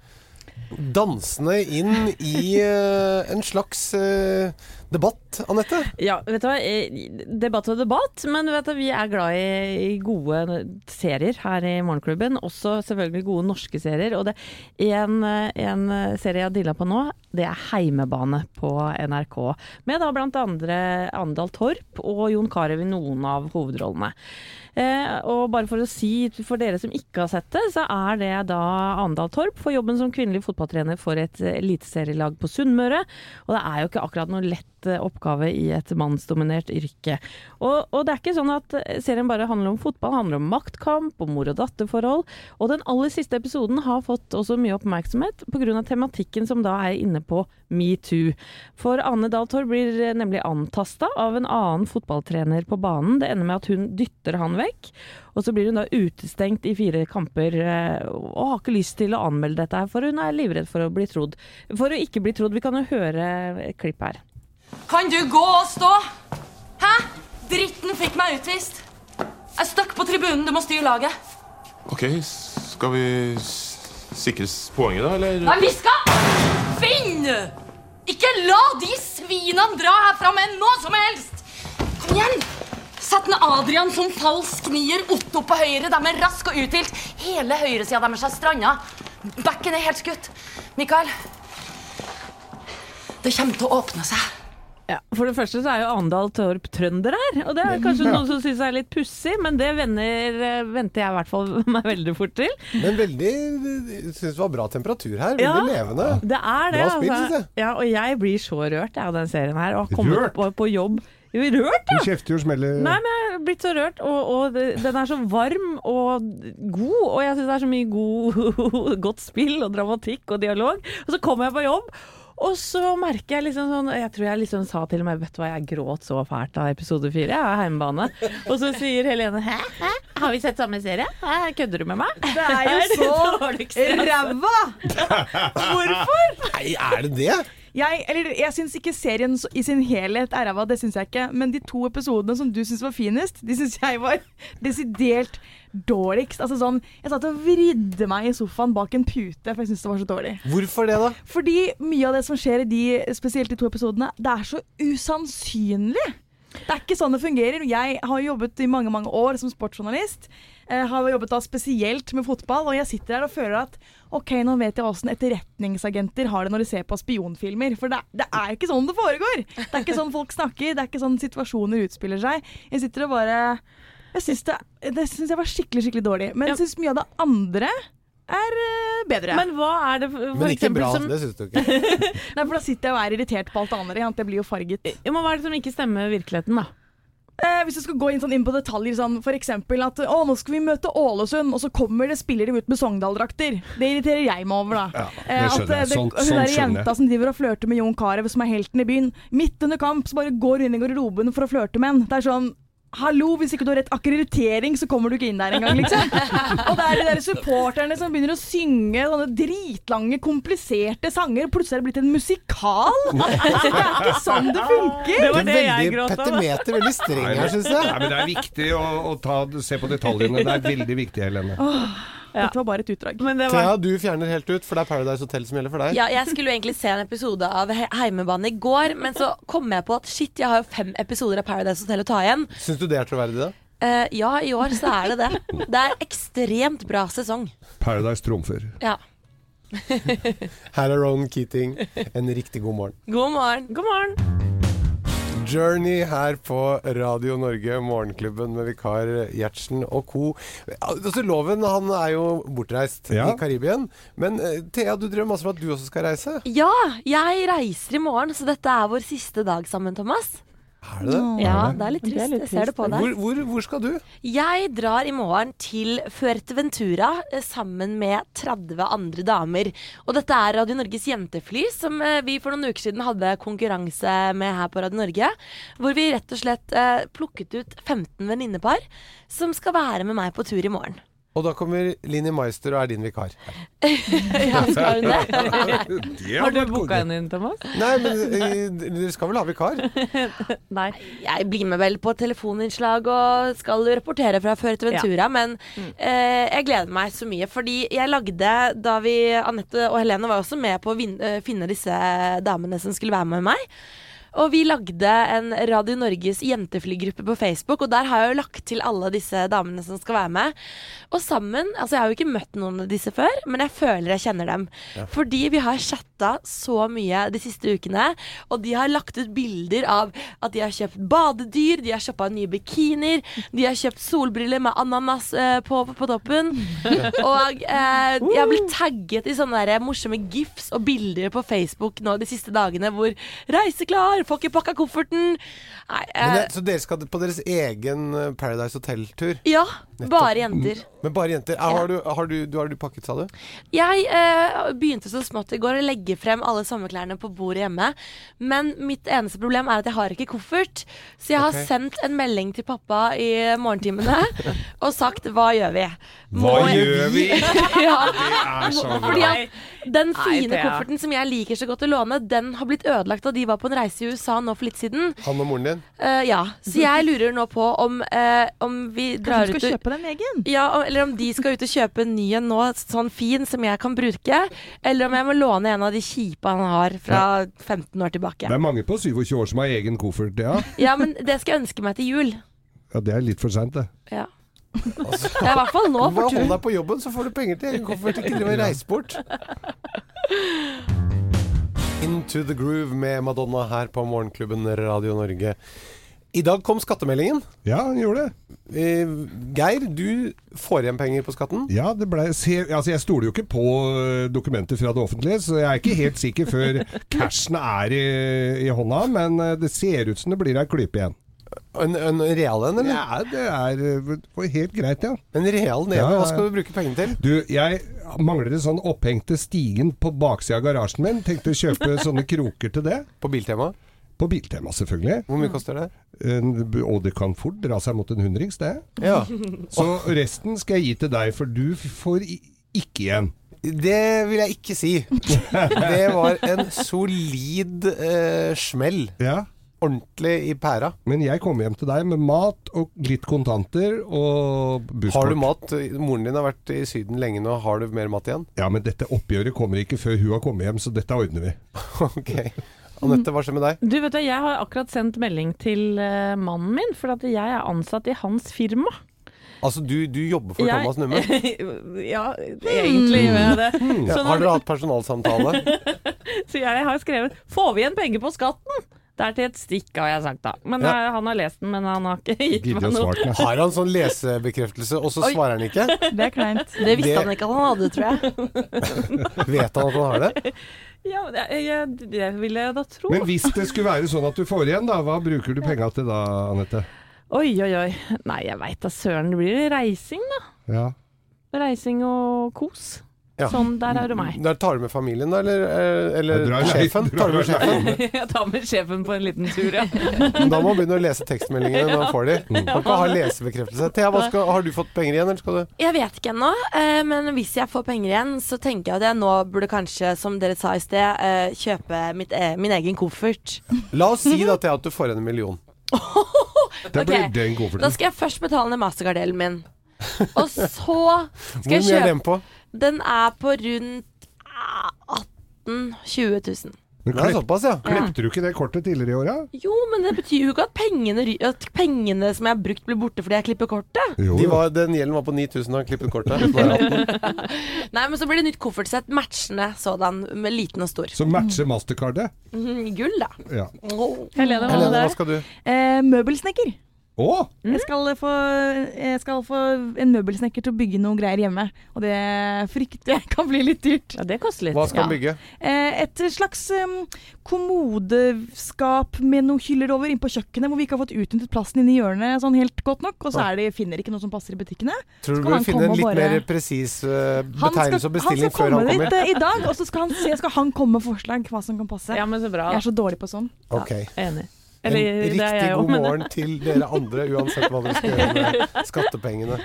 Dansende inn i eh, en slags eh, debatt, Anette. Ja, vet du hva. eh, Debatt og debatt, men vet du, vi er glad i, i gode serier her i Morgenklubben. Også selvfølgelig gode norske serier. Og det en, eh, en eh, serie jeg har dilla på nå, det er Heimebane på NRK. Med da blant andre Andal Torp og Jon Carew i noen av hovedrollene. Eh, og bare for å si for dere som ikke har sett det, så er det da Andal Torp for jobben som kvinnelig fotballtrener for et eh, eliteserielag på Sunnmøre. Og det er jo ikke akkurat noe lett eh, oppgave i et mannsdominert yrke. Og, og det er ikke sånn at eh, serien bare handler om fotball, handler om maktkamp, om mor- og datterforhold. Og den aller siste episoden har fått også mye oppmerksomhet pga. tematikken som da er inne på metoo. For Ane Dahl Torp blir eh, nemlig antasta av en annen fotballtrener på banen. Det ender med at hun dytter han vekk, og så blir hun da utestengt i fire kamper eh, og har ikke lyst til å anmelde dette her, for hun er livredd for å bli trodd. For å ikke bli trodd. Vi kan jo høre et klipp her. Kan du gå og stå? Hæ? Dritten fikk meg utvist. Jeg er stuck på tribunen. Du må styre laget. Ok, skal vi s- sikres poenget da, eller? Nei, vi skal vinne! Ikke la de svinene dra herfra med noe som helst! Kom igjen! Sett den Adrian som falsk nier, Otto på høyre. De er rask og uthilt. Hele høyresida deres er stranda. Bekken er helt skutt. Mikael, det kommer til å åpne seg. Ja, For det første så er jo Andal Torp trønder her, og det er kanskje Ja. noen som syns er litt pussig, men det venner, eh, venter jeg i hvert fall meg veldig fort til. Men veldig Jeg syns det var bra temperatur her. Veldig levende. Det er det, Bra spill, synes altså. jeg. Ja, og jeg blir så rørt jeg, av den serien her. Og har kommet Rørt? På, på jobb Jo, Rørt, Du ja! kjefter jo og smeller Nei, men jeg er blitt så rørt, og, og det- den er så varm og god, og jeg syns det er så mye god, godt spill og dramatikk og dialog. Og så kommer jeg på jobb, og så merker jeg liksom sånn Jeg tror jeg liksom sa til meg Vet du hva, jeg gråt så fælt av episode fire, jeg er hjemmebane. Og så sier Helene Hæ, hæ, har vi sett samme serie? Hæ, kødder du med meg? Det altså. er jo så ræva! Hvorfor? Nei, er det det? Jeg, eller, jeg syns ikke serien så- i sin helhet er ræva, det syns jeg ikke. Men de to episodene som du syns var finest, de syns jeg var desidert dårligst. Altså sånn, Jeg satt og vridde meg i sofaen bak en pute, for jeg syns det var så dårlig. Hvorfor det, da? Fordi mye av det som skjer i de, spesielt de to episodene, det er så usannsynlig. Det er ikke sånn det fungerer. Jeg har jobbet i mange mange år som sportsjournalist. Eh, har jobbet da spesielt med fotball, og jeg sitter her og føler at OK, nå vet jeg åssen etterretningsagenter har det når de ser på spionfilmer. For det, det er ikke sånn det foregår! Det er ikke sånn folk snakker, det er ikke sånn situasjoner utspiller seg. Jeg sitter og bare Jeg syns det, det syns jeg var skikkelig, skikkelig dårlig. Men jeg syns mye av det andre er eh, bedre. Men hva er det for Men ikke bra, det syns du ikke. Nei, for da sitter jeg og er irritert på alt det andre. ikke sant? Jeg blir jo farget. Ja, men hva er det som ikke stemmer virkeligheten, da? Eh, jeg, hvis du skal gå inn sånn inn på detaljer, sånn f.eks. at å, nå skal vi møte Ålesund, og så kommer det spillere ut med Sogndal-drakter. Det irriterer jeg meg over, da. det Eh, skjønner eh, jeg. Sånt- hun sånt skjønner der jeg. jenta som driver og flørter med Jon Carew, som er helten i byen, midt under kamp, så bare går hun inn i garderoben for å flørte med en. Det er sånn Hallo, hvis ikke du har rett akkreditering, så kommer du ikke inn der engang, liksom. Og det er de der supporterne som begynner å synge sånne dritlange, kompliserte sanger, og plutselig er det blitt en musikal. Altså, det er ikke sånn det funker. veldig petimeter, veldig streng Nei, her, men- syns jeg. Nei, men det er viktig å, å ta, se på detaljene. Det er veldig viktig, Helene. Åh, Dette var bare et utdrag. Thea, du fjerner helt ut, for det er Paradise Hotel som gjelder for deg. Ja, jeg skulle jo egentlig se en episode av He- Heimebane i går, men så kom jeg på at shit, jeg har jo fem episoder av Paradise Hotel å ta igjen. Syns du det er troverdig, da? Eh, ja, i år så er det det. Det er ekstremt bra sesong. Paradise trumfer. Ja. Her er Ronan Keating. En riktig god morgen. God morgen. God morgen. Journey her på Radio Norge, Morgenklubben med vikar Gjertsen og co. Altså, loven han er jo bortreist Ja. i Karibien. Men eh, Thea, du drømmer masse om at du også skal reise. Ja, jeg reiser i morgen, så dette er vår siste dag sammen, Thomas. Er det det? Ja, det er litt trist. jeg ser det på deg. Hvor, hvor, hvor skal du? Jeg drar i morgen til Fuerteventura eh, sammen med 30 andre damer. Og dette er Radio Norges jentefly, som eh, vi for noen uker siden hadde konkurranse med her på Radio Norge. Hvor vi rett og slett eh, plukket ut 15 venninnepar som skal være med meg på tur i morgen. Og da kommer Linni Meister og er din vikar. ja, skal hun det? Det Har du vært booka henne inn, Thomas? Nei, men eh, dere skal vel ha vikar? Nei. Jeg blir med vel på telefoninnslag og skal rapportere fra Fuerteventura, Ja. men eh, jeg gleder meg så mye. Fordi jeg lagde, da vi Anette og Helene var også med på å vin, eh, finne disse damene som skulle være med meg. Og vi lagde en Radio Norges jenteflygruppe på Facebook, og der har jeg jo lagt til alle disse damene som skal være med. Og sammen Altså, jeg har jo ikke møtt noen av disse før, men jeg føler jeg kjenner dem. Ja. Fordi vi har chatta så mye de siste ukene, og de har lagt ut bilder av at de har kjøpt badedyr, de har kjøpt nye bikinier, de har kjøpt solbriller med ananas eh, på, på toppen. Og eh, jeg har Uh. blitt tagget i sånne der morsomme gifs og bilder på Facebook nå de siste dagene hvor 'reiseklar', 'får ikke pakka kofferten'. Nei, Men, eh, det- så dere skal på deres egen eh, Paradise Hotel-tur? eh, ja, Nettopp. bare jenter. Men bare jenter. Er, har, du, har, du, du, har du pakket, sa du? Jeg eh, begynte så smått i går å legge frem alle sommerklærne på bordet hjemme. Men mitt eneste problem er at jeg har ikke koffert. Så jeg har Ok. sendt en melding til pappa i morgentimene og sagt 'hva gjør vi'? Hva gjør vi? ja. Det er sånn. så bra. Fordi at den Nei, fine Thea. kofferten som jeg liker så godt å låne, den har blitt ødelagt da de var på en reise i USA nå for litt siden. Han og moren din? Eh, ja, så jeg lurer nå på om, eh, om vi drar du ut skal og- kjøpe deg en egen? Ja, om- eller om de skal ut og kjøpe en ny en nå, sånn fin som jeg kan bruke. Eller om jeg må låne en av de kjipe han har fra 15 år tilbake. Det er mange på 27 år som har egen koffert, ja. Ja, men det skal jeg ønske meg til jul. ja det er litt for seint, det. Ja. Det er i hvert fall nå Bare for hold turen. deg på jobben, så får du penger til egen koffert. Ikke driv og reis bort. Into the groove med Madonna her på Morgenklubben Radio Norge. I dag kom skattemeldingen. Eh, Ja, han gjorde det. Geir, du får igjen penger på skatten. Ja, det ble, se, altså Jeg stoler jo ikke på eh, dokumenter fra det offentlige, så jeg er ikke helt sikker før cashen er i, i hånda, men eh, det ser ut som det blir ei klype igjen. En, en real en, eller? Ja, det er eh, helt greit, ja. En real neve, hva skal du bruke pengene til? Du, jeg mangler en sånn opphengte stigen på baksida av garasjen min. Tenkte å kjøpe sånne kroker til det. På Biltema? På Biltema, selvfølgelig. Hvor mye koster det? Og det kan fort dra seg mot en hundrings, det. Ja. Så resten skal jeg gi til deg, for du får i- ikke igjen. Det vil jeg ikke si. Det var en solid eh, smell. Ja. Ordentlig i pæra. Men jeg kommer hjem til deg med mat og litt kontanter og busskort. Har du mat? Moren din har vært i Syden lenge nå. Har du mer mat igjen? Ja, men dette oppgjøret kommer ikke før hun har kommet hjem, så dette ordner vi. ok. Anette, hva skjer med deg? Du vet du, Jeg har akkurat sendt melding til eh, mannen min, for at jeg er ansatt i hans firma. Altså, du, du jobber for Jeg- Thomas Numme? ja, egentlig gjør jeg det. Ja, Sånn har at- dere hatt personalsamtale? Så jeg har skrevet 'Får vi igjen penger på skatten?' Det er til et stikk, har jeg sagt da. Men Ja. eh, han har lest den, men han har ikke gitt meg noe. Har han sånn lesebekreftelse, og så Oi. svarer han ikke? Det er kleint. Det visste Det- han ikke at han hadde, tror jeg. Vet han at han har det? Ja, men jeg, jeg, det vil jeg da tro. Men hvis det skulle være sånn at du får igjen, da, hva bruker du penga til da, Anette? Oi, oi, oi. Nei, jeg veit da søren. Det blir reising, da. Ja. Reising og kos. Ja. Sånn, der har du meg. Der tar du med familien, da? Eller, eh, eller Jeg drar alene. sjefen? Tar du med Drar sjefen? Jeg tar med sjefen på en liten tur, ja. Men Da må man begynne å lese tekstmeldingene når man får de. Man kan ikke ha lesebekreftelse. Thea, hva skal, har du fått penger igjen, eller skal du Jeg vet ikke ennå, eh, men hvis jeg får penger igjen, så tenker jeg at jeg nå burde kanskje, som dere sa i sted, eh, kjøpe mitt, e min egen koffert. La oss si da, Thea, at du får en million. Det blir Ok, den kofferten. Da skal jeg først betale ned Mastercard-delen min. Og så skal Hvor jeg mye kjøpe er den på? Den er på rundt ah, 18 000-20 000. Men Det er såpass, ja. Klepte du ikke det kortet tidligere i år, da? Jo, men det betyr jo ikke at pengene, ry- at pengene som jeg har brukt, blir borte fordi jeg klipper kortet. De var, den gjelden var på 9000 da han klippet kortet. Bare 18. Nei, men så blir det nytt koffertsett matchende sådan, med liten og stor. Som matcher mastercardet? Mm, Gull, da. Ja. Helene, hva Helene, med hva deg? skal du? Eh, møbelsnekker. Å! Jeg, skal få, jeg skal få en møbelsnekker til å bygge noe greier hjemme, og det frykter jeg kan bli litt dyrt. Ja, det koster litt. Hva skal han bygge? Eh, Et slags em, kommodeskap med noen hyller over inne på kjøkkenet, hvor vi ikke har fått utnyttet plassen inne i hjørnet sånn helt godt nok, og så er det, finner ikke noe som passer i butikkene. Tror du Så du kan burde han finne komme en og litt bare- mer presis eh, Han skal- betegnelse og bestilling han skal før han komme kommer? dit, eh, i dag, og så skal han, se, skal han komme med forslag hva som kan passe. Ja, men så bra. Jeg er så dårlig på sånn. Ok. Enig. En riktig god morgen til dere andre, uansett hva dere skal gjøre med skattepengene.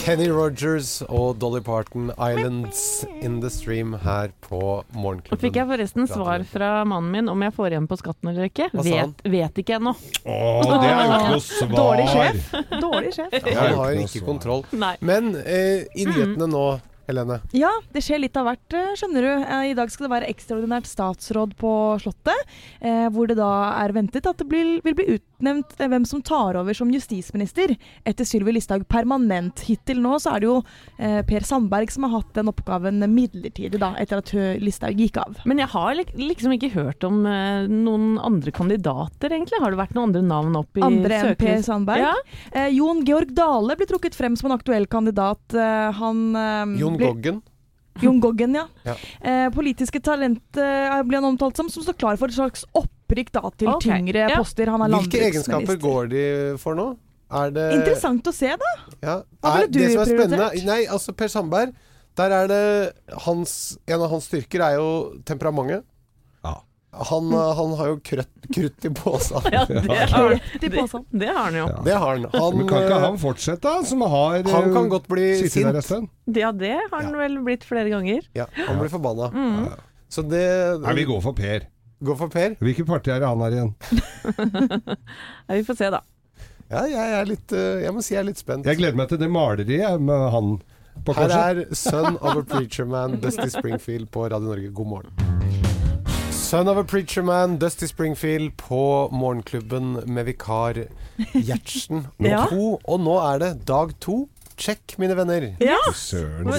Kenny Rogers og Dolly Parton, 'Islands In The Stream', her på Så Morgenklubben. fikk jeg forresten svar fra mannen min om jeg får igjen på skatten eller ikke. Hva sa han? Vet, vet ikke ennå. Å, det er jo ikke noe svar. Dårlig sjef. Dårlig sjef. Ja, Han har ikke kontroll. Nei. Men eh, i nyhetene nå, Helene. Ja, det skjer litt av hvert, eh, skjønner du. Eh, I dag skal det være ekstraordinært statsråd på Slottet, eh, hvor det da er ventet at det blir, vil bli utnevnt eh, hvem som tar over som justisminister etter Sylvi Listhaug permanent. Hittil nå så er det jo eh, Per Sandberg som har hatt den oppgaven midlertidig, da, etter at eh, Listhaug gikk av. Men jeg har lik- liksom ikke hørt om eh, noen andre kandidater, egentlig. Har det vært noen andre navn opp i Andre enn Per søkelisten? Sandberg. Ja. Eh, Jon Georg Dale blir trukket frem som en aktuell kandidat. Eh, han Jon eh, blir- Goggen. Jon Goggen, ja. Ja. Eh, politiske talent eh, blir han omtalt som, som står klar for et slags opprykk da, til Ok, tyngre ja. poster. Han er Hvilke egenskaper landbruksminister. går eh, de for nå? Er det Interessant å se, da. Ja. Hva ville Er du det som er spennende prioritert? Nei, altså Per Sandberg der er det hans, En av hans styrker er jo temperamentet. Han, eh, han har jo krøtt, krutt i båsa. Ja, det har, det, det har han jo. Det har han. han Men kan ikke eh, han fortsette, da, som har eh, Han kan godt bli sittet sint. der en stund? Ja, det har han vel blitt flere ganger. Ja, han blir forbanna. Mm. Så det Nei, vi går for Per. Går for Per? Hvilket parti er det han er igjen? Ja, vi får se, da. Ja, jeg er litt eh, Jeg må si jeg er litt spent. Jeg gleder meg til det maleriet jeg, med han på Her korset. er 'Son of a Preacher Man', Dusty Springfield på Radio Norge. God morgen. Son of a Preacher Man, Dusty Springfield på Morgenklubben med vikar Gjertsen. Og, Ja. to, og nå er det dag to. Sjekk, mine venner. Ja. Søren, Hva,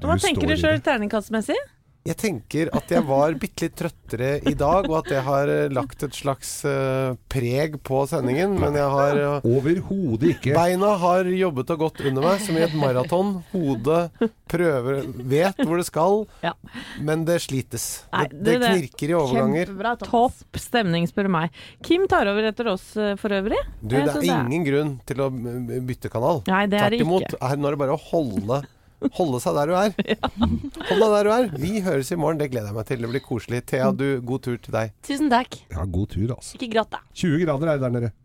hva tenker du sjøl terningkastmessig? Jeg tenker at jeg var bitte litt trøttere i dag, og at det har eh, lagt et slags eh, preg på sendingen. Men jeg har eh, Overhodet ikke. Beina har jobbet og gått under meg, som i et maraton. Hodet prøver Vet hvor det skal, men det slites. det, det, knirker i overganger. Topp stemning, spør du meg. Kim tar over etter oss eh, for øvrig. Du, Jeg det er synes ingen grunn til å eh, bytte kanal. Nei, det er det Tvert imot. ikke. Her, nå er det bare å holde Holde seg der du er. Hold deg der du er. Vi høres i morgen, det gleder jeg meg til. Det blir koselig. Thea, du, god tur til deg. Tusen takk. Ja, god tur, altså. Ikke gråt, da. 20 grader er det der nede.